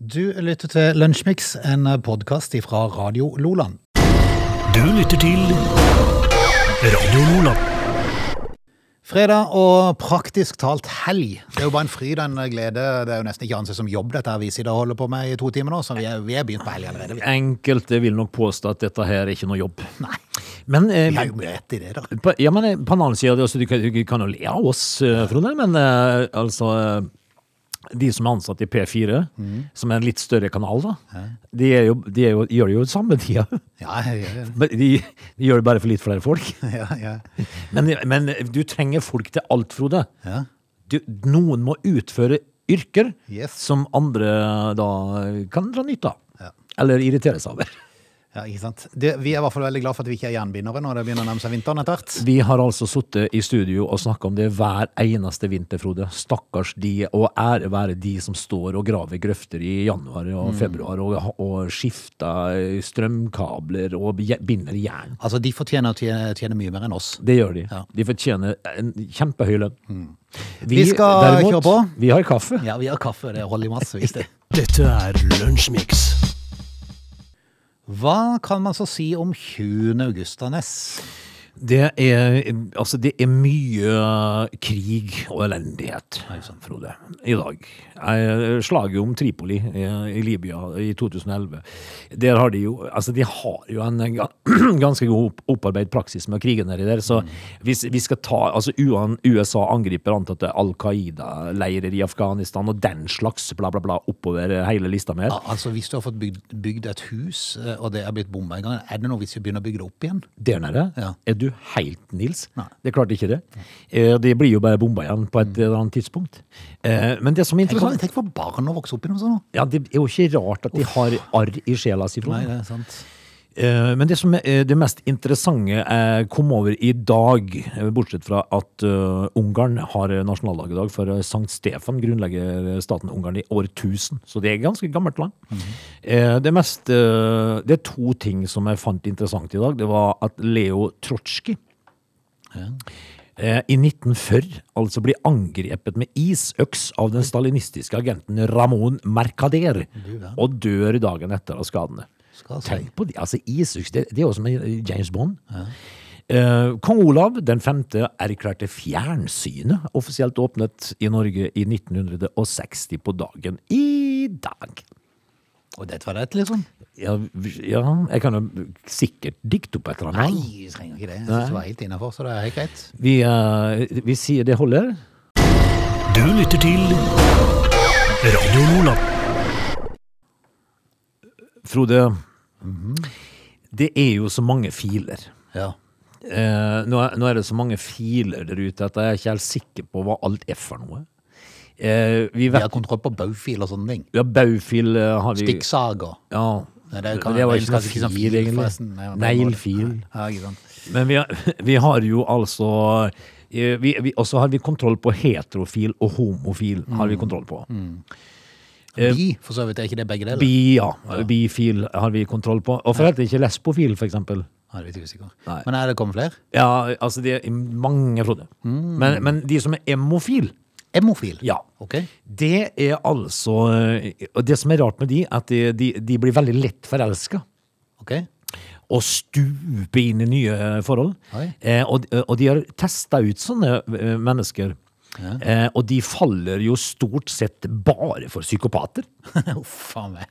Du lytter til Lunsjmix, en podkast fra Radio Loland. Du lytter til Radio Lola. Fredag og praktisk talt helg. Det er jo bare en fryd og en glede. Det er jo nesten ikke ansett som jobb, dette her vi sitter og holder på med i to timer nå. Så vi er, vi er begynt på helg allerede. Vi- Enkelte vil nok påstå at dette her er ikke noe jobb. Nei, Men, eh, vi har jo rett i det, da. på, ja, men eh, på den annen side, altså, du, kan- du kan jo le av oss, eh, Frode, men eh, altså eh, De som er ansatt i P4, Mm. som er en litt større kanal, da, de, er jo, de er jo, gjør det jo samme tida. Ja, ja, Men De, de gjør det bare for litt flere folk. ja, ja. Men, men du trenger folk til alt, Frode. ja. Du, noen må utføre yrker Yes. som andre da kan dra nytte av. Ja. Eller irriteres over. ja ikke sant. Det, vi er i hvert fall veldig glad for at vi ikke er jernbindere når det begynner å nærme seg vinteren etter hvert. Vi har altså sittet i studio og snakka om det hver eneste vinter, Frode. Stakkars de, og ære være de som står og graver grøfter i januar og Mm. februar og, og skifter strømkabler og je- binder jern. Altså, de fortjener å tjene, tjene mye mer enn oss. Det gjør de. Ja. Mm. De fortjener en kjempehøy lønn. Vi skal kjøre på. Vi har kaffe. Ja, vi har kaffe. Det holder i massevis, det. Dette er Lunsjmix. Hva kan man så si om 20. august, Anders? Det er, altså det er mye krig og elendighet, Frode, i dag. Eh, Slaget om Tripoli eh, i Libya i 2011. Der har de jo, altså de har jo en ga- ganske god opp- opparbeidet praksis med krigen nedi der. Så hvis vi skal ta altså UAN USA angriper antatte Al Qaida-leirer i Afghanistan og den slags bla, bla, bla oppover hele lista med. Ja, altså Hvis du har fått bygd, bygd et hus, eh, og det er blitt bomba en gang, er det noe hvis vi begynner å bygge det opp igjen? Der nede Ja. er du helt Nils. Nei. Mm. Det klarte ikke det. Eh, Det blir jo bare bomba igjen på et eller annet tidspunkt. Eh, Men det som er Tenk, om- interessant tenk for barn å vokse opp i noe sånt! nå. ja, Det er jo ikke rart at de har arr i sjela si. Frode. Nei, det er sant. Eh, Men det som er eh, det mest interessante eh, kom over i dag, eh, bortsett fra at eh, Ungarn har eh, nasjonaldag i dag, for eh, Sankt Stefan grunnlegger eh, staten Ungarn i år 1000, så det er et ganske gammelt land. Eh, det, mest, eh, det er to ting som jeg fant interessant i dag. Det var at Leo Trotskij eh, i 1940 altså blir angrepet med isøks av den stalinistiske agenten Ramon Mercader, og dør dagen etter av skadene. Skal si. Tenk på det. Altså, isøks, det, det er jo som en James Bond. Eh, Kong Olav den femte erklærte fjernsynet offisielt åpnet i Norge i 1960 på dagen i dag. Og dette var det, liksom? Ja, vi- ja jeg kan jo sikkert dikte opp et eller annet. Nei, vi trenger ikke det. Jeg synes det var helt innafor, så det er helt greit. Vi, eh, vi sier det holder. Du lytter til Radio Lola. Frode, det er jo så mange filer. Ja. Eh, nå, er, nå er det så mange filer der ute at jeg er ikke helt sikker på hva alt er for noe. Eh, vi Vi vet har kontroll på baufil og sånne ting. Ja, Baufil eh, har vi Stikksager. Ja. Nei, det, er jo Men det det var er ikke noen kanskje ikke fil, sånn fil, forresten. Nei, men egentlig. det var- Neglfil. Ja, ikke sant. Men vi, har- vi har jo altså eh, vi, vi, Og så har vi kontroll på heterofil og homofil. har vi kontroll på. Eh, Bi, for så vidt. Er ikke det begge deler? Bi, ja. Bifil har vi kontroll på. Og for heter ikke lesbofil, for eksempel. Ja, det er litt usikker. Nei. Men er det kommet flere? Ja, altså det er mange, Frode. Men, men de som er emofil, Emofil? ja. Ok. Det er altså eh, Og det som er rart med de, at de, de, de blir veldig lett forelska. ok. og stupe inn i nye eh, forhold. Oi. Eh, og, og de har testa ut sånne eh, mennesker. Eh, og de faller jo stort sett bare for psykopater. Uff a meg.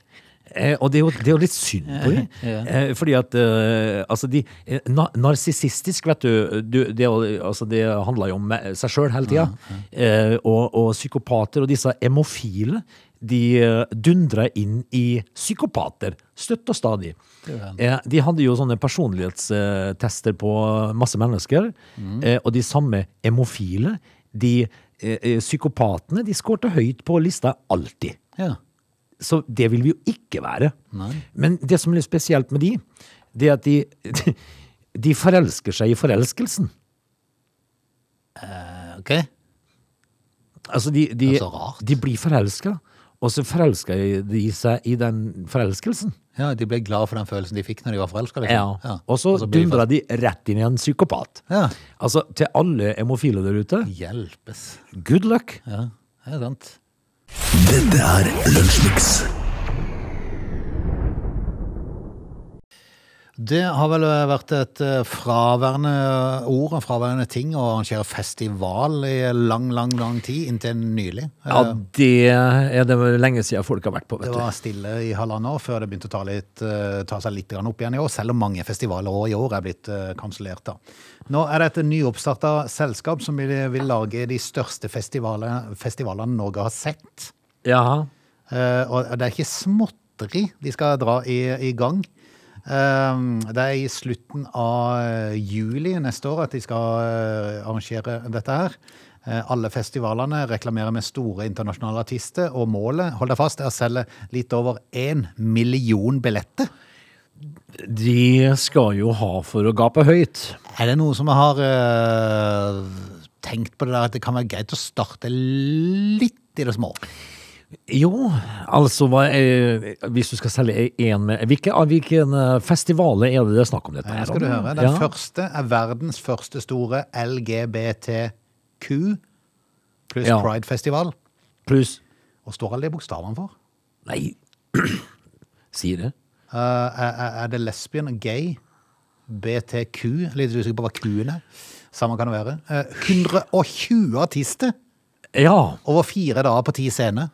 Eh, og det er, jo, det er jo litt synd på dem. Ja. Eh, fordi at eh, altså de eh, na- Narsissistisk, vet du, du det, er jo- altså det handler jo om eh, seg sjøl hele tida. Eh, og, og psykopater og disse emofile, de eh, dundrer inn i psykopater støtt og stadig. Eh, de hadde jo sånne personlighetstester på masse mennesker, eh, og de samme emofile, de eh, eh, psykopatene, de skårte høyt på lista alltid. Ja. Så det vil vi jo ikke være. Nei. Men det som er litt spesielt med de, det er at de, de forelsker seg i forelskelsen. Ok. Altså de, de, Det er så rart. de blir forelska, og så forelsker de seg i den forelskelsen. Ja, de ble glad for den følelsen de fikk når de var forelska. Ja. Liksom. Og så blir de dundrer de rett inn i en psykopat. Ja. Altså, til alle emofile der ute, fast- Hjelpes. good luck! Ja, det er sant. Dette er Lunsjmix. Det har vel vært et eh, fraværende ord og fraværende ting å arrangere festival i lang, lang, lang tid, inntil nylig. Eh, Ja, det er det vel lenge siden folk har vært på, Det vet du. var stille i halvannet år før det begynte å ta, litt, eh, ta seg litt grann opp igjen i år, selv om mange festivaler også i år er blitt eh, kansellert. da. Nå er det et nyoppstarta selskap som vil, vil lage de største festivale- festivalene Norge har sett. Jaha. Eh, og det er ikke småtteri de skal dra i, i gang. Eh, det er i slutten av eh, juli neste år at de skal eh, arrangere dette her. Eh, alle festivalene reklamerer med store internasjonale artister, og målet hold deg fast, er å selge litt over én million billetter. De skal jo ha for å gape høyt. Er det noen som har eh, tenkt på det der at det kan være greit å starte litt i det små? Jo, altså hva er, Hvis du skal selge én med Hvilke, av hvilken eh, festivale er det det er snakk om dette? Her her skal du om? høre. Den Ja. første er verdens første store LGBTQ pluss Ja. Pride-festival. Pluss Og står alle de bokstavene for? Nei, sier det. Eh, er, er- er det lesbian, gay, BTQ? Litt usikker på hva Q-en er. Samme kan det være. Eh, 120 artister Ja. over fire dager på ti scener.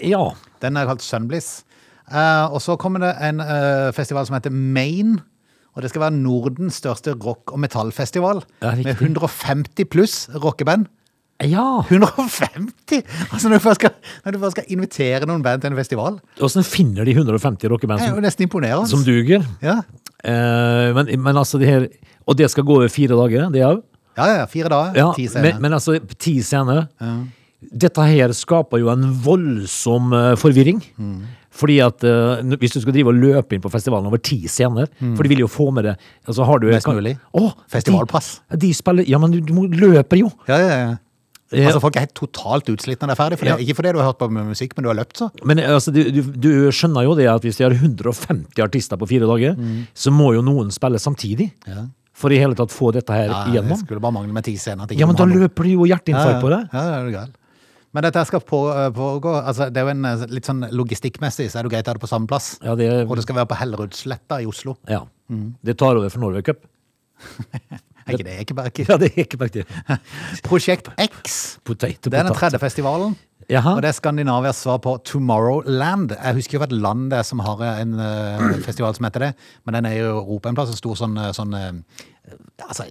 Ja. Den er kalt Sunbliss. Eh, og så kommer det en eh, festival som heter Maine. Og det skal være Nordens største rock- og metallfestival. Ja, riktig. med 150 pluss rockeband. Ja. 150?! Altså når du først skal, når du først skal invitere noen band til en festival. Åssen finner de 150 rockeband Det er jo som, nesten imponerende. som duger? Ja. Eh, men, men altså, det her Og det skal gå over fire dager, det òg? ja, ja. Fire dager, Ja, ti scener. men, men altså, ti scener Dette her skaper jo en voldsom eh, forvirring. Mm. Fordi at eh, n- Hvis du skal drive og løpe inn på festivalen over ti scener For de vil jo få med det altså, har du, Mm. Mest mulig. Åh, Festivalpass. De, de spiller Ja, men du, du må- løper jo! Eh, Ja, ja, ja. Ja. Altså Folk er helt totalt utslitt når de er ferdig. For det, Ja. Ikke fordi du har hørt på musikk, men du har løpt, så. Men eh, altså, du, du, du skjønner jo det at hvis de har 150 artister på fire dager, Mm. så må jo noen spille samtidig. For i hele tatt få dette her Ja, det igjennom. skulle bare mangle med ti scener. at ikke Ja, men de da har noe. løper de jo hjerteinfarkt på det. Ja, ja, er du gal. Men dette her skal på- pågå altså Det er jo en eh, litt sånn logistikkmessig, så er det jo greit å ha det på samme plass. Ja, det, Og det Mm. skal være på Hellerudsletta i Oslo. ja. det tar over for Norway Cup. Er ikke det Ekeberg? Ja, det er ikke bare det. Prosjekt X. Potato, Det er den potato. tredje festivalen. Jaha. Og det er Skandinavias svar på Tomorrowland. Jeg husker jo hva et land det er som har en eh, festival som heter det, men den er i Europa en plass. En stor sånn, eh, sånn eh, Altså,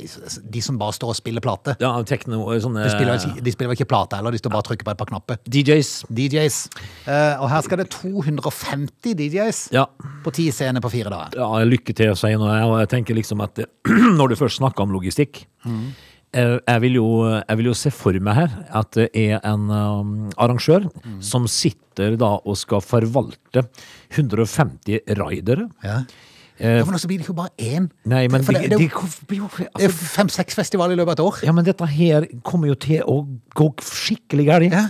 de som bare står og spiller plate. Ja, tekno sånne De spiller, altså vel ikke- de spiller vel ikke plate heller, de står bare og trykker på et par knapper. DJs. DJs. Eh, og her skal det 250 DJs Ja. på ti scener på fire dager. ja, lykke til, Svein. Og jeg- og jeg tenker liksom at eh, når du først snakker om logistikk Mm. eh, jeg, vil jo, jeg vil jo se for meg her at det er en um, arrangør Mm. som sitter da og skal forvalte 150 raidere. Ja. Eh, men også blir det jo bare én. Nei, men For de, det, det, er de, jo- blir jo- det er altså, fem-seks festivaler i løpet av et år. Ja, men dette her kommer jo til å gå skikkelig galt. Ja.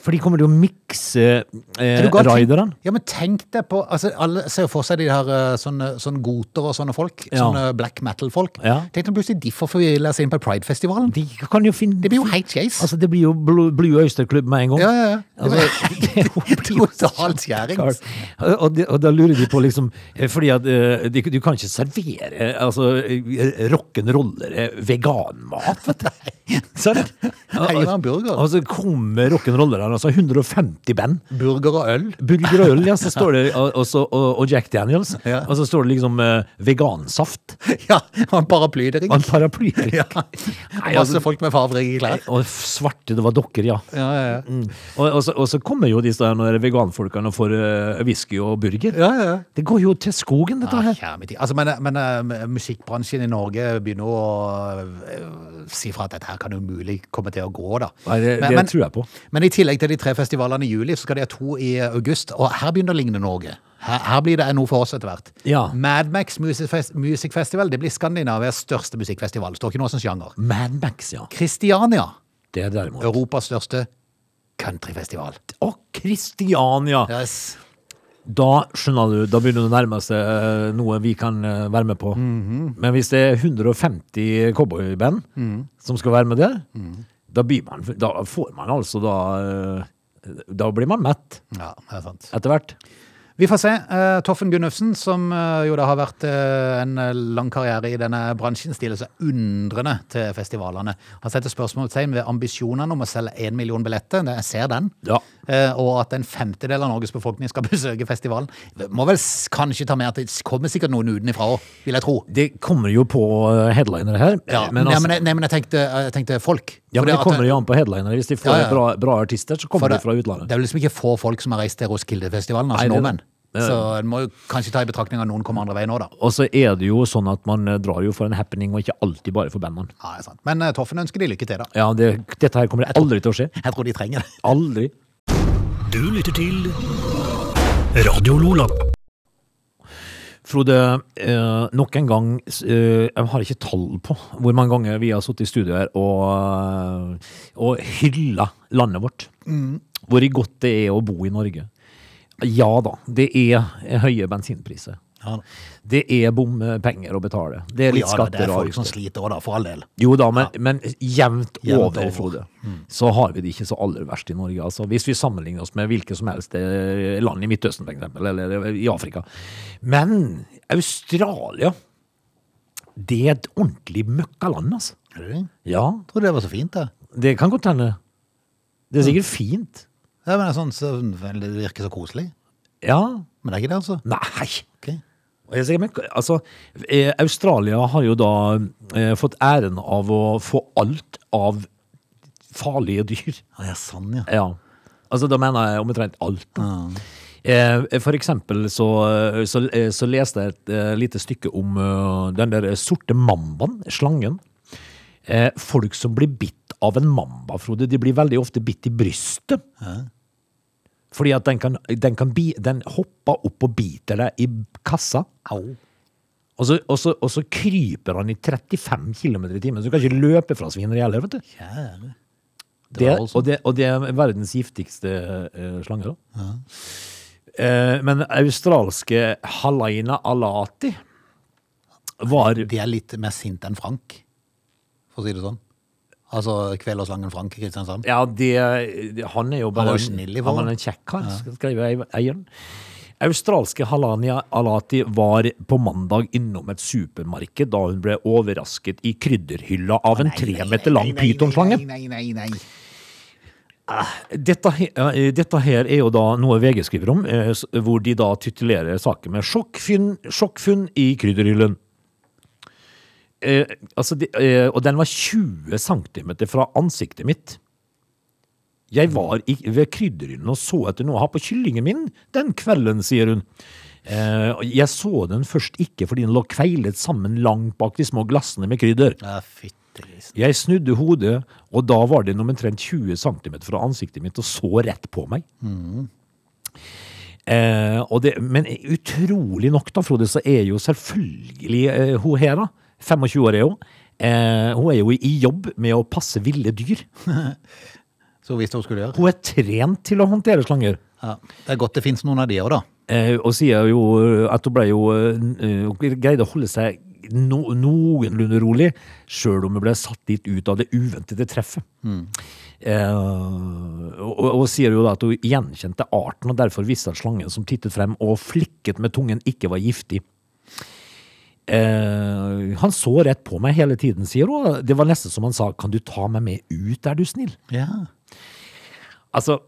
For de kommer til å mikse eh, Er du gal? raiderne. Ja, men tenk deg på altså, Alle ser jo for seg de her eh, sånne, sånne goter og sånne folk. Ja. Sånne black metal-folk. Ja. Tenk deg plutselig de får forville seg inn på Pride-festivalen. De kan jo finne Det blir jo helt skeis. Altså, det blir jo Blue, Blue Øyster-klubb med en gang. Ja, ja, ja. Det Altså, det blir jo totalt skjærings. Og, det- og da lurer de på liksom eh, Fordi at eh, de, du kan ikke servere eh, altså, eh, rock'n'rollere veganmat, vet du. Sant? Heller en burger. Og så kommer rock'n'rollerne, altså 150 band. Burger og øl. Burger og øl, ja, så står det, og, og, så- og, og Jack Daniels. Ja. Og så står det liksom eh, vegansaft Ja, og en paraplydrink. og en paraplydrikk. Ja. Nei, Masse altså, folk med fargerike klær. og svarte, det var dokker, ja. Ja, ja, ja. Mm. Og, og, så, og så kommer jo disse der når veganfolkene får eh, whisky og burger. ja, ja. Det går jo til skogen, dette Ah, her. kjære min tid. altså, men, men eh, musikkbransjen i Norge begynner å eh, si fra at dette her kan umulig komme til å gå, da. Nei, det, det men, men, tror jeg på. men i tillegg til de tre festivalene i juli, så skal de ha to i august. Og her begynner det å ligne Norge. Her, her blir det noe for oss etter hvert. Ja. Madmax Music, Fest- Music Festival det blir Skandinavias største musikkfestival. Står ikke noe som sjanger. Mad Max, ja. Kristiania, Det er derimot. Europas største countryfestival. Og Kristiania! Yes. Da skjønner du, da begynner det å nærme seg eh, noe vi kan eh, være med på. Men hvis det er 150 cowboyband som skal være med der, da, blir man, da får man altså da eh, Da blir man mett Ja, det er sant. etter hvert. Vi får se. Eh, Toffen Gunnufsen, som eh, jo da har vært eh, en lang karriere i denne bransjen, stiller seg undrende til festivalene. Han setter spørsmålstegn ved ambisjonene om å selge én million billetter. Det- Jeg ser den. Ja. Eh, Og at en femtedel av Norges befolkning skal besøke festivalen. Må vel s- kanskje ta med at det kommer sikkert noen utenfra òg, vil jeg tro. Det kommer jo på eh, headliner her. Ja, men, nei, altså, men, jeg- nei, men jeg tenkte, eh, jeg tenkte folk. ja, For men det at- kommer jo an på headliner. Hvis de får Ja, ja. Bra, bra artister, så for kommer det, de fra utlandet. det er jo liksom ikke få folk som har reist til Roskilde-festivalen, altså Nei, det- nordmenn. det- Så en må jo kanskje ta i betraktning at noen kommer andre veien nå, da. Og så er det jo sånn at man eh, drar jo for en happening, og ikke alltid bare for bandene. Ja, det er sant. Men eh, Toffen ønsker de lykke til, da. Ja, det, dette her kommer det aldri til å skje. Jeg tror de trenger det. Aldri. Du lytter til Radio Lola. Frode, eh, nok en gang eh, Jeg har ikke tall på hvor mange ganger vi har sittet i studio her og, og hylla landet vårt. Mm. Hvor godt det er å bo i Norge. Ja da, det er høye bensinpriser. Ja, da. Det er bompenger å betale. Det er Og litt ja, da, det skatter er og folk som avgifter. sliter òg, da, for all del. Jo da, men, men jevnt, Jevnt over, Mm. over. Frode, så har vi det ikke så aller verst i Norge. Altså. Hvis vi sammenligner oss med hvilke som helst eh, land i Midtøsten, for eksempel, eller i Afrika. Men Australia, det er et ordentlig møkkaland, altså. Er det det? Jeg Ja, trodde det var så fint, det. det kan godt hende. Det er sikkert fint. Ja, men det, er sånn, så, det virker så koselig. Ja. Men det er ikke det, altså. Nei. Ok. Og jeg sier, men, altså, eh, Australia har jo da eh, fått æren av å få alt av farlige dyr. Ja, det er sånn, ja. Ja. Altså, da mener jeg omtrent alt. da. Eh, For eksempel så, så, eh, så leste jeg et eh, lite stykke om eh, den der sorte mambaen, slangen. Eh, Folk som blir bitt av en mamba, Frode, de blir veldig ofte bitt i brystet. Fordi at den, kan, den, kan bi, den hopper opp og biter deg i kassa. Au. Og så, og, så, og så kryper han i 35 km i timen, så du kan ikke løpe fra svineriet heller, vet du. Kjære. Det, var voldsomt. og, det, og det er verdens giftigste eh, slange, da. Eh, men australske Halaina Alati var De er litt mer sinte enn Frank, for å si det sånn. Altså Kvelersangen Frank i Kristiansand. Ja, det, det- han er jo bare var jo snill i Han var forhold. en kjekk kar, skrev ei- eieren. Australske Halania Alati var på mandag innom et supermarked da hun ble overrasket i krydderhylla av en tre meter lang pytonslange. Nei, nei, nei, nei. Dette, he- ja, eh, dette her er jo da noe VG skriver om, eh, s- hvor de da titulerer saken med sjokkfunn, sjokkfunn i krydderhyllen. Eh, altså de, eh, og den var 20 cm fra ansiktet mitt. Jeg var i, ved krydderhyllen og så etter noe å ha på kyllingen min den kvelden, sier hun. Eh, og jeg så den først ikke fordi den lå kveilet sammen langt bak de små glassene med krydder. Ja, fyttegrisen. Jeg snudde hodet, og da var den omtrent 20 cm fra ansiktet mitt og så rett på meg. Eh, og det, men utrolig nok, da, Frode, så er jo selvfølgelig eh, hun her, da. 25 år er hun. Eh, hun er jo i jobb med å passe ville dyr. Så hvis hun skulle gjøre. Hun er trent til å håndtere slanger. Ja. Det er godt det fins noen av de òg, da. Eh, og sier jo at hun ble jo eh, Hun greide å holde seg no, noenlunde rolig, sjøl om hun ble satt dit ut av det uventede treffet. Mm. Eh, og, og- og sier jo da at hun gjenkjente arten, og derfor visste at slangen som tittet frem og flikket med tungen, ikke var giftig. Eh, han så rett på meg hele tiden, sier hun. Det var nesten som han sa 'Kan du ta meg med ut, er du snill?' Ja. Altså,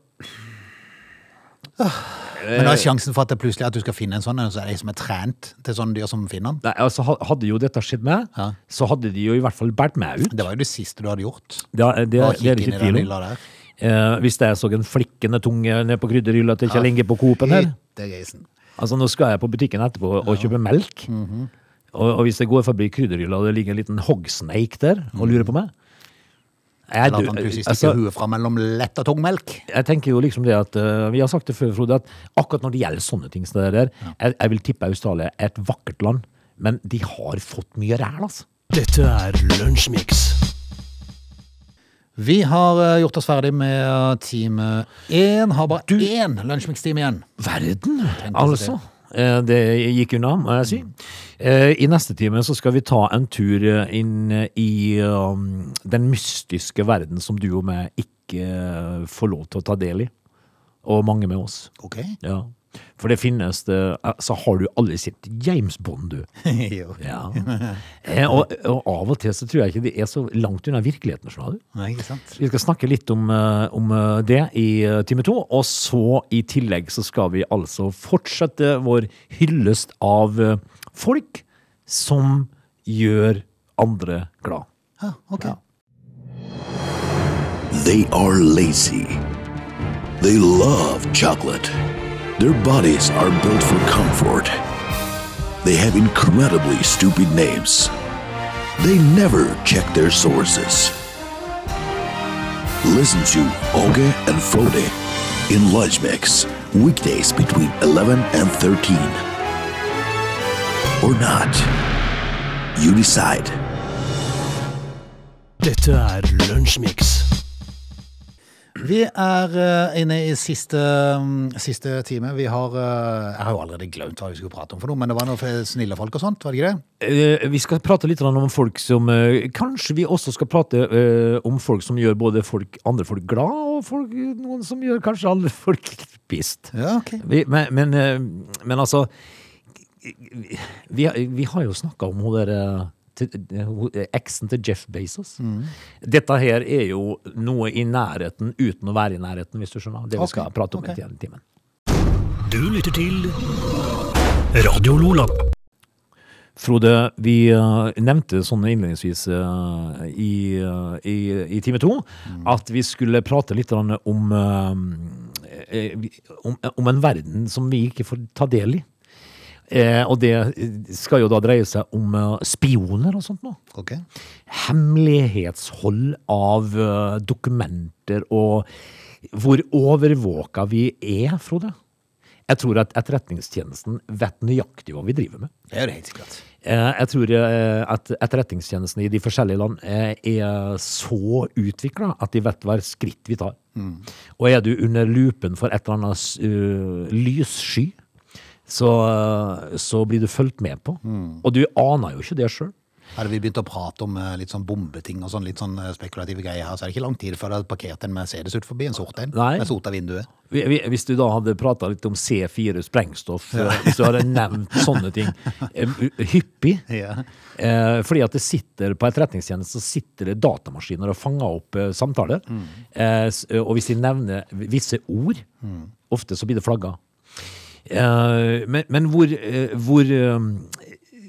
Men Eh. da er sjansen for at det plutselig at du skal finne en sånn, så er det ei som er trent til sånne dyr som finner den. nei, altså ha- hadde jo dette skjedd meg, Ja. så hadde de jo i hvert fall båret meg ut. Det var jo det siste du hadde gjort. Det, er- eh, det, Bare er- det kikke er ikke inn i den tvil hylla om. der. Eh, hvis jeg så en flikkende tunge ned på krydderhylla til Kjell Inge på Coop-en her Fyttegrisen. Altså Nå skal jeg på butikken etterpå og kjøpe melk. Mhm. og, og hvis jeg går forbi krydderhylla og det ligger en liten hogsnake der og lurer på meg Eller jeg, at han dø- plutselig stikker altså, huet fra mellom lett og tung melk. jeg tenker jo liksom det at eh, Vi har sagt det før, Frode, at akkurat når det gjelder sånne ting som det der, jeg, jeg vil tippe Australia er et vakkert land, men de har fått mye ræl, altså. Dette er Lunsjmix. Vi har eh, gjort oss ferdig med eh, time én. Har bare én lunsjmikstime igden igjen. Verden, tenkte altså. Eh, Det gikk unna, må jeg si. Eh, I neste time så skal vi ta en tur eh, inn i um, den mystiske verden som du og meg ikke eh, får lov til å ta del i. Og mange med oss. Ok. Ja. For det finnes det Så har du aldri sett James Bond, du. jo. Ja. Eh, Og, og av og til så tror jeg ikke det er så langt unna virkeligheten, skjønner du. Nei, ikke sant? Vi skal snakke litt om, eh, om eh, det i eh, time to. Og så i tillegg så skal vi altså fortsette vår hyllest av eh, folk som gjør andre glad. Ja, Ah, ok. They are lazy. They love chocolate. Their bodies are built for comfort. They have incredibly stupid names. They never check their sources. Listen to Oge and Frode in Lunch Mix, weekdays between 11 and 13. Or not. You decide. Dette er Lunsjmix. Vi er eh, inne i siste, mm, siste time. Vi har eh, Jeg har jo allerede glemt hva vi skulle prate om for noe, men det var noe for snille folk og sånt, var det ikke det? Eh, Vi skal prate litt om folk som eh, Kanskje vi også skal prate eh, om folk som gjør både folk, andre folk glad, og folk, noen som gjør kanskje alle folk pissed. Ja, ok. Vi, men, men, eh, men altså Vi, vi har jo snakka om hun der eh, til- eh, hun- eh, eksen til Jeff Bezos. Mm. Dette her er jo noe i nærheten uten å være i nærheten, hvis du skjønner. Det vi Ok, skal prate om ok. i denne timen. Du lytter til Radio Lola. Frode, vi eh, nevnte sånn innledningsvis eh, i, eh, i, i time to at vi skulle prate litt grann om, eh, eh, vi- om, om en verden som vi ikke får ta del i. Eh, og det eh, skal jo da dreie seg om eh, spioner og sånt noe. Ok. Hemmelighetshold av eh, dokumenter og hvor overvåka vi er, Frode. Jeg tror at Etterretningstjenesten vet nøyaktig hva vi driver med. Det er jo det helt sikkert. Eh, Jeg tror eh, at etterretningstjenestene i de forskjellige land eh, er så utvikla at de vet hver skritt vi tar. Og er du under lupen for et eller annet s- eh, lyssky, så, så blir du fulgt med på. Og du aner jo ikke det sjøl. Hadde vi begynt å prate om eh, litt sånn bombeting og sånn, litt sånn eh, spekulative greier her, så er det ikke lang tid før det er parkert en Mercedes ut forbi, en sort en, Nei. med sota vinduet. Vi- vi- Hvis du da hadde prata litt om C4 sprengstoff, eh, hvis du hadde nevnt sånne ting eh, hyppig Ja. eh, Fordi at det sitter på etterretningstjenesten så sitter det datamaskiner og fanger opp eh, samtaler. Eh, s- og hvis de nevner visse ord, ofte så blir det flagga. Eh, men, men hvor, eh, hvor eh,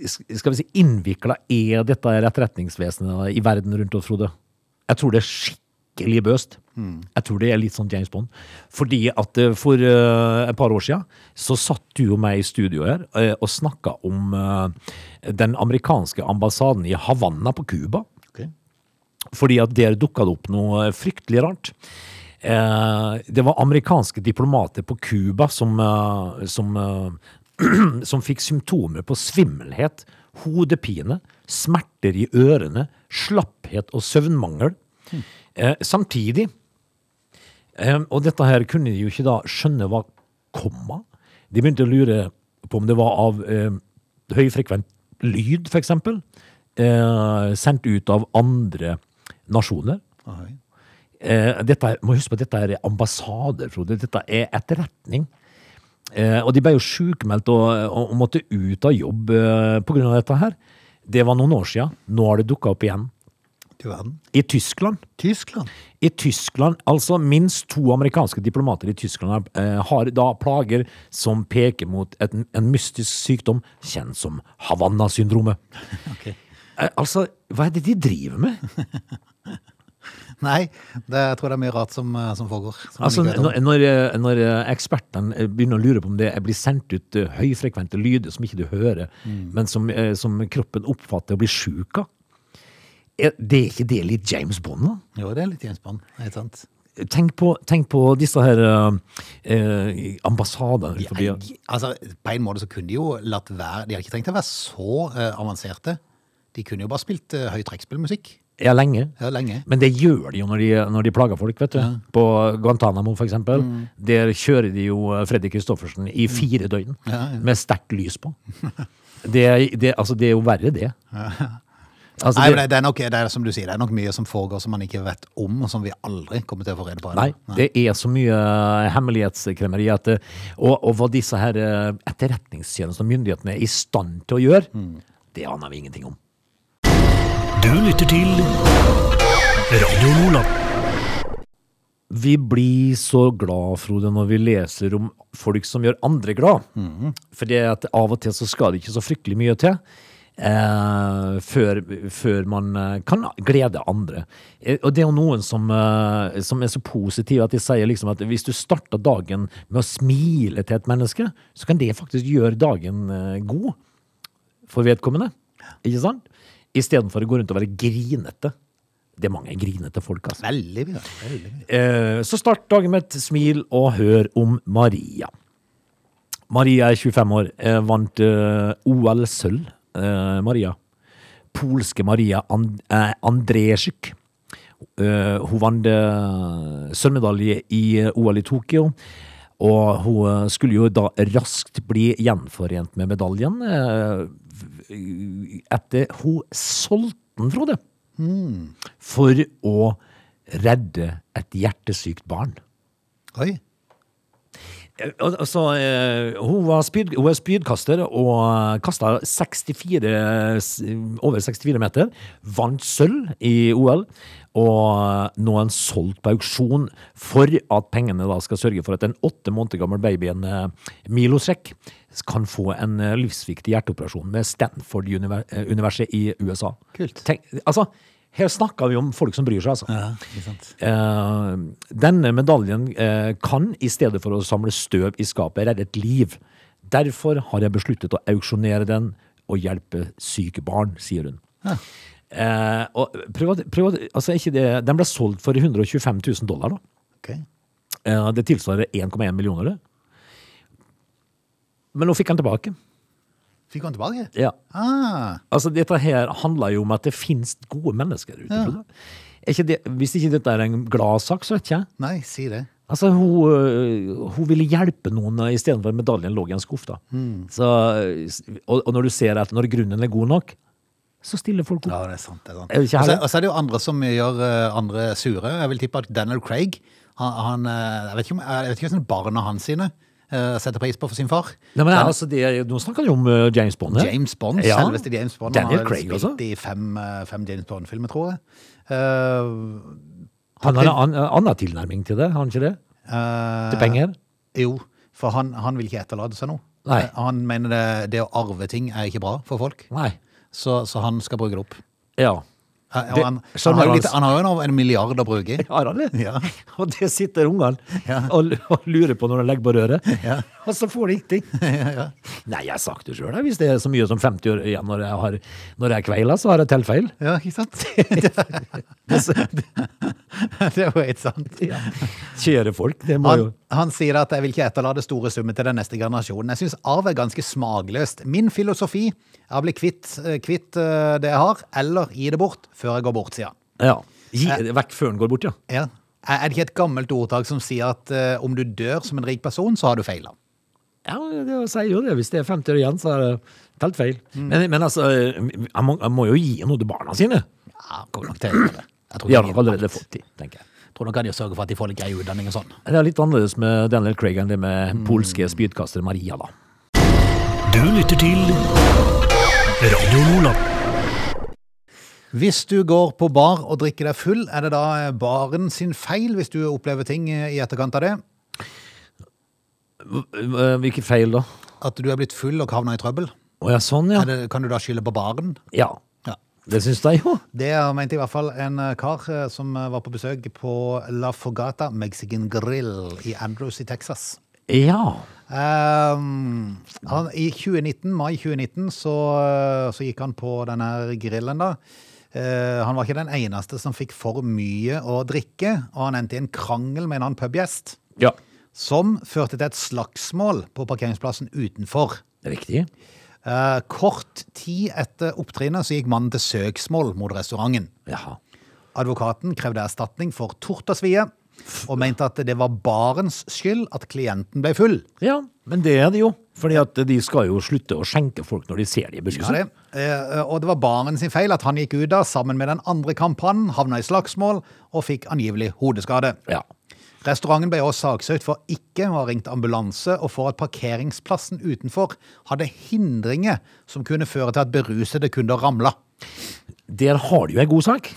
skal vi si, innvikla er dette her etterretningsvesenet i verden rundt oss, Frode? Jeg tror det er skikkelig bøst. Jeg tror det er litt sånn James Bond. Fordi at eh, for eh, et par år siden så satt du og meg i studio her eh, og snakka om eh, den amerikanske ambassaden i Havanna på Cuba. Ok. Fordi at der dukka det opp noe fryktelig rart. Eh, det var amerikanske diplomater på Cuba som, eh, som, eh, som fikk symptomer på svimmelhet, hodepine, smerter i ørene, slapphet og søvnmangel. Eh, samtidig Eh, Og dette her kunne de jo ikke da skjønne hva komma. De begynte å lure på om det var av eh, høyfrekvent lyd, f.eks. Eh, sendt ut av andre nasjoner. Oi. Eh, dette, er- må huske på at dette er ambassader, Frode. Dette er etterretning. Eh, og de ble jo sjukmeldt og, og, og måtte ut av jobb eh, pga. dette her. Det var noen år sia. Nå har det dukka opp igjen. Du verden. I Tyskland. Tyskland. I Tyskland, altså minst to amerikanske diplomater i Tyskland eh, har da plager som peker mot et, en mystisk sykdom kjent som Havanna-syndromet. Ok. Eh, altså, hva er det de driver med? Nei, det, jeg tror det er mye rart som, eh, som foregår. Som Altså, vi ikke vet om. når, når, eh, når eh, ekspertene eh, begynner å lure på om det blir sendt ut eh, høyfrekvente lyder som ikke du hører, Mm. men som, eh, som kroppen oppfatter og blir sjuk av, er det er ikke det litt James Bond, da? Jo, det er litt James Bond, helt sant. Tenk på, tenk på disse her eh, eh, ambassadene. rundt forbi. Ja, de- altså, på en måte så kunne de jo latt være, de hadde ikke trengt å være så eh, avanserte. De kunne jo bare spilt eh, høy trekkspillmusikk Ja, lenge. ja, lenge. Men det gjør de jo når de, når de plager folk, vet du. På Guantánamo, for eksempel. Der kjører de jo Freddy Kristoffersen i fire døgn med sterkt lys på. Det, er- det, altså, det er jo verre, det. Altså, Nei, det- men det, det er nok, det er som du sier, det er nok mye som foregår som man ikke vet om, og som vi aldri kommer til å få rede på. ennå. Nei, det er så mye hemmelighetskremmeri at eh, Og, og hva disse her eh, etterretningstjenestene og myndighetene er i stand til å gjøre, det aner vi ingenting om. Du lytter til Radio Lola. Vi blir så glad, Frode, når vi leser om folk som gjør andre glad. For det at av og til så skal det ikke så fryktelig mye til. Eh, før, før man eh, kan glede andre. Eh, og det er jo noen som, eh, som er så positive at de sier liksom at hvis du starter dagen med å smile til et menneske, så kan det faktisk gjøre dagen eh, god for vedkommende. Ikke sant? Istedenfor å gå rundt og være grinete. Det er mange grinete folk, altså. Veldig mye. Veldig mye. Eh, Så start dagen med et smil og hør om Maria. Maria er 25 år, eh, vant eh, OL-sølv, eh, Maria. Polske Maria And eh, Andresjuk. Eh, hun vant eh, sølvmedalje i eh, OL i Tokyo. Og hun eh, skulle jo da raskt bli gjenforent med medaljen eh, etter hun solgte den, Frode for å redde et hjertesykt barn. Oi. Altså, eh, hun, var spyd, hun er spydkaster og kasta 64, s- over 64 meter. Vant sølv i OL. Og nå er han solgt på auksjon for at pengene da skal sørge for at den åtte måneder gamle babyen eh, Milosek kan få en eh, livsviktig hjerteoperasjon med Stanford-universet eh, i USA. Kult. Tenk, altså, her snakker vi om folk som bryr seg, altså. Ja, ikke sant. Eh, denne medaljen eh, kan, i stedet for å samle støv i skapet, redde et liv. Derfor har jeg besluttet å auksjonere den og hjelpe syke barn, sier hun. Eh, og prøv, å- prøv, å- altså ikke det, den ble solgt for 125 000 dollar. Da. Ok. Eh, det tilsvarer 1,1 millioner. det. Men nå fikk han tilbake. Fikk han tilbake? Ja. Ah, Altså, dette her handler jo om at det finnes gode mennesker der ute. Frode. Er ikke det, hvis ikke dette er en glad sak, så vet ikke jeg. nei, si det. Altså, hun, øh, hun ville hjelpe noen øh, istedenfor at medaljen lå i en skuff. da. Så, øh, s- og, og når du ser at når grunnen er god nok, så stiller folk opp. Ja, det er sant. det er sant. Er det ikke Og så- herlig? Og så er det jo andre som gjør eh, andre sure. Jeg vil tippe at Daniel Craig han, han, eh, Jeg vet ikke om, jeg vet ikke hvordan barna hans sine eh, setter pris på for sin far. Nei, men Dan- altså, det, er- Nå snakker vi om øh, James Bond. her. James Bond, Ja. selveste James Bond. Daniel han har Craig spilt også. i fem, eh, fem James Bond-filmer, tror jeg. Eh, Han har en an- annen tilnærming til det, har han ikke det? eh, Til penger? Jo, for han, han vil ikke etterlate seg noe. Nei. Eh, Han mener det, det å arve ting er ikke bra for folk, Nei. så, så han skal bruke det opp. Ja. Eh, og Det- han, han, skjønner har jo han. litt, han har jo en- en milliard å bruke. Har han det? Ja. Og det sitter ungene Ja. og, l- og lurer på når de legger på røret, Ja. og så får de ingenting. Nei, jeg har sagt det sjøl, hvis det er så mye som 50 år igjen når jeg, har, når jeg kveiler, så har jeg telt feil. Ja, ikke sant? det er jo helt sant. Kjære folk, det må Han, jo han sier at jeg vil ikke etterlate store summer til den neste generasjonen. Jeg syns arv er ganske smakløst. Min filosofi er å bli kvitt, eh, kvitt eh, det jeg har, eller gi det bort før jeg går bort, sier han. Ja. Gi, vekk før den går bort, ja. Ja. Er er det ikke et gammelt ordtak som sier at eh, om du dør som en rik person, så har du feila? Ja, det sier jo det. Hvis det er 50 år igjen, så er det telt feil. Men, men altså, han må, han må jo gi noe til barna sine. Ja, kommer nok til å gjøre det. Jeg tror De har ikke nok de- allerede fått det, tenker jeg. tror nok han gjør sørge for at de får litt grei utdanning og sånn. Det er litt annerledes med Daniel Craig enn det med polske spydkaster Maria, da. Du lytter til Radio Lola. Hvis du går på bar og drikker deg full, er det da eh, baren sin feil hvis du opplever ting eh, i etterkant av det? Eh, Hvilke feil, da? At du er blitt full og havna i trøbbel? Å ja, sånn, ja. Er det, kan du da skylde på baren? Ja. Ja. Det syns jeg jo. Det mente i hvert fall en eh, kar eh, som eh, var på besøk på La Fogata Mexican Grill i Andrews i Texas. Ja. Ehm, han, I 2019, mai 2019 så, eh, så gikk han på denne her grillen da. Eh, han var ikke den eneste som fikk for mye å drikke, og han endte i en krangel med en annen pubgjest, ja. som førte til et slagsmål på parkeringsplassen utenfor. Riktig. Eh, kort tid etter opptrinnet så gikk mannen til søksmål mot restauranten. Jaha. Advokaten krevde erstatning for tort og svie, og mente at det var barens skyld at klienten ble full. Ja, men det er det jo. Fordi at de skal jo slutte å skjenke folk når de ser de i Ja, beruset. det. Eh, Og det var baren sin feil at han gikk ut da, sammen med den andre kampanen, havna i slagsmål og fikk angivelig hodeskade. Ja. Restauranten ble også saksøkt for ikke å ha ringt ambulanse, og for at parkeringsplassen utenfor hadde hindringer som kunne føre til at berusede kunder ramla. Der har de jo ei god sak.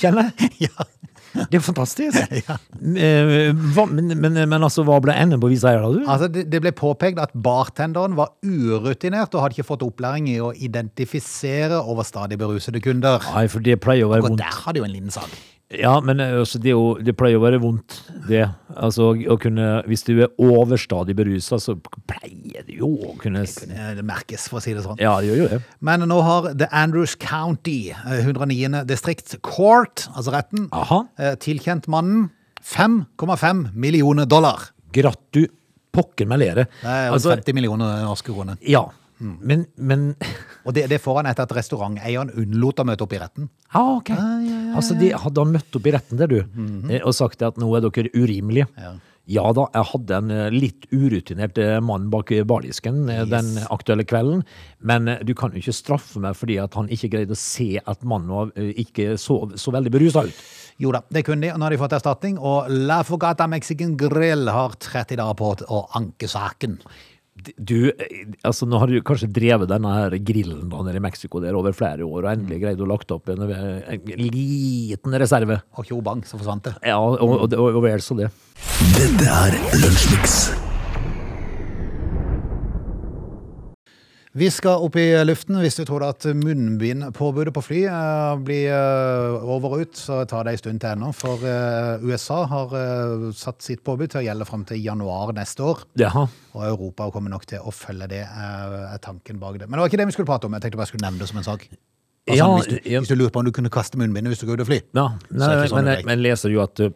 Kjenner jeg. Ja. Det er fantastisk. Eh, hva, men, men, men altså, hva ble enden på visa her, da, du? Altså, det, det ble påpekt at bartenderen var urutinert og hadde ikke fått opplæring i å identifisere overstadig berusede kunder. Nei, for det pleier å være Og vondt. der har de jo en liten sak. Ja, men eh, altså, det, er jo, det pleier å være vondt, det. Altså, å kunne, hvis du er overstadig berusa, så pleier det jo å kunne Eh, Det merkes, for å si det sånn. Ja, det gjør jo det. Men nå har The Andrews County, eh, 109. distrikt, court, altså retten, Aha. eh, tilkjent mannen 5,5 millioner dollar. Gratu pokker meg lere. Altså, Det er jo 50 millioner norske kroner. ja. Men, men Og det, det får han etter at restauranteieren unnlot å møte opp i retten. Ja, ah, ok. Altså, de hadde han møtt opp i retten der, du, eh, og sagt at nå er dere urimelige. Ja. da, jeg hadde en eh, litt urutinert eh, mann bak i bardisken eh, den aktuelle kvelden, men eh, du kan jo ikke straffe meg fordi at han ikke greide å se at mannen var, eh, ikke så, så veldig berusa ut. Jo da, det kunne de, og nå har de fått erstatning. Og La Fogata Mexican Grill har 30 dager på å anke saken. D- Du, eh, altså nå har du kanskje drevet denne her grillen da nede i Mexico der over flere år, og Mm. endelig greide å lagt opp en, en liten reserve. Og tjo bang, så forsvant det. Ja, og, og, og, og vel så det. Dette er Lunsjmix. Vi skal opp i luften. Hvis du tror at munnbindpåbudet på fly eh, blir eh, over og ut, så tar det en stund til ennå. For eh, USA har eh, satt sitt påbud til å gjelde fram til januar neste år. Jaha. Og Europa kommer nok til å følge det, eh, er tanken bak det. Men det var ikke det vi skulle prate om. Jeg tenkte bare jeg skulle nevne det som en sak. Bare Ja, sånn, hvis, du, ja. hvis du lurte på om du kunne kaste munnbindet hvis du skulle ut og fly. Ja, Så nei, er det ikke sånn men, det jeg, er. men jeg leser jo at uh,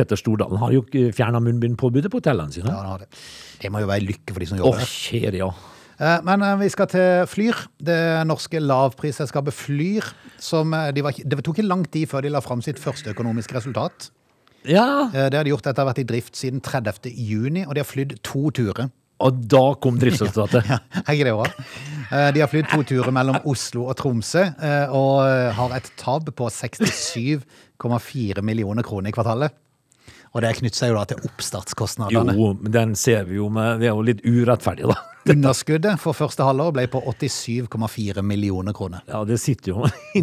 Petter Stordalen har jo fjerna munnbindpåbudet på hotellene sine. Ja, han har det. det må jo være lykke for de som Å, jobber der. kjære ja. Eh, Men eh, vi skal til Flyr. Det norske lavprisselskapet Flyr. Som eh, de var, ikke- det tok ikke lang tid før de la fram sitt første økonomiske resultat. Ja, Eh, Det har de gjort etter å ha vært i drift siden 30. juni, og de har flydd to turer. og da kom driftsresultatet. Ja, er ikke det bra? Eh, De har flydd to turer mellom Oslo og Tromsø, eh, og eh, har et tab på 67,4 millioner kroner i kvartalet. Og det knytter seg jo da til Jo, oppstartskostnadene. men den ser vi jo med Det er jo litt urettferdig, da. Underskuddet for første halvår ble på 87,4 millioner kroner. Ja, det sitter jo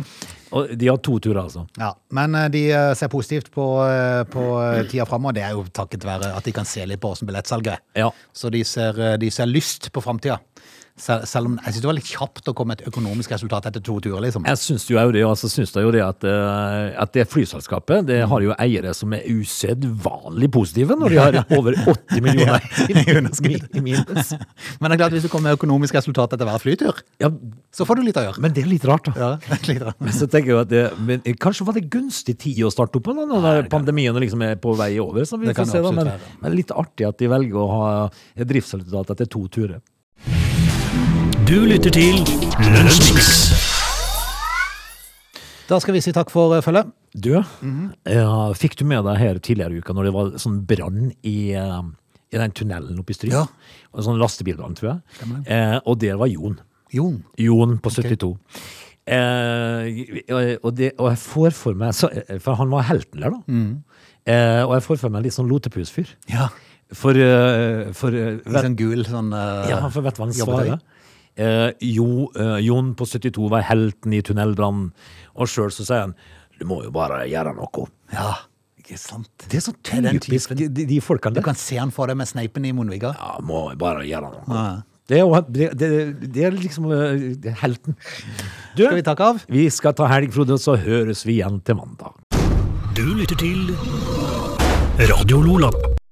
Mm. her. Og de har to turer, altså. Ja, Men eh, de eh, ser positivt på, eh, på eh, tida framover. Det er jo takket være at de kan se litt på åssen billettsalget er. Ja. Så de ser, eh, de ser lyst på framtida. Sel selv om jeg synes det var litt kjapt å komme med et økonomisk resultat etter to turer, liksom. Jeg syns jo også det, altså syns jeg jo det at, eh, at det flyselskapet det har jo eiere som er usedvanlig positive når de har over 80 millioner i underskudd. i minus. Men det er klart, hvis du kommer med økonomisk resultat etter hver flytur, Ja, så får du litt å gjøre. men det er litt rart, da. Ja, litt rart. Men så tenker jeg at det, men kanskje var det gunstig tid å starte opp på da, når pandemien liksom er på vei over. Så vi Det kan får se da, absolutt men, være, ja. men litt artig at de velger å ha et driftsresultat etter to turer. Du lytter til Lunsjmix. Da skal vi si takk for eh, følget. Du, ja, fikk du med deg her tidligere i uka når det var sånn brann i, eh, i den tunnelen oppe i Stryn? Ja. Og sånn lastebilbrann, tror jeg. Eh, og der var Jon. Jon. Jon på 72. Eh, og- og, det, og jeg får for meg, så, eh, for han var helten der da, eh, og jeg får for meg en litt sånn lotepusfyr. Ja. For, eh, for eh, Litt vet, sånn gul sånn eh, ja, for vet du hva han jobbetøy. svarer? Eh, jo, eh, Jon på 72 var helten i tunnelbrannen, og sjøl så sier han du må jo bare gjøre noe. Ja, ikke sant. Det er så er den typisk de, de folkene Du der. kan se han for deg med sneipen i munnviga. Ja, må jo bare gjøre noe. Ja. Det, er, jo- det, det, det er liksom eh, det er helten. Du, Skal vi takke av? vi skal ta helg, Frode, så høres vi igjen til mandag. Du lytter til Radio Lola.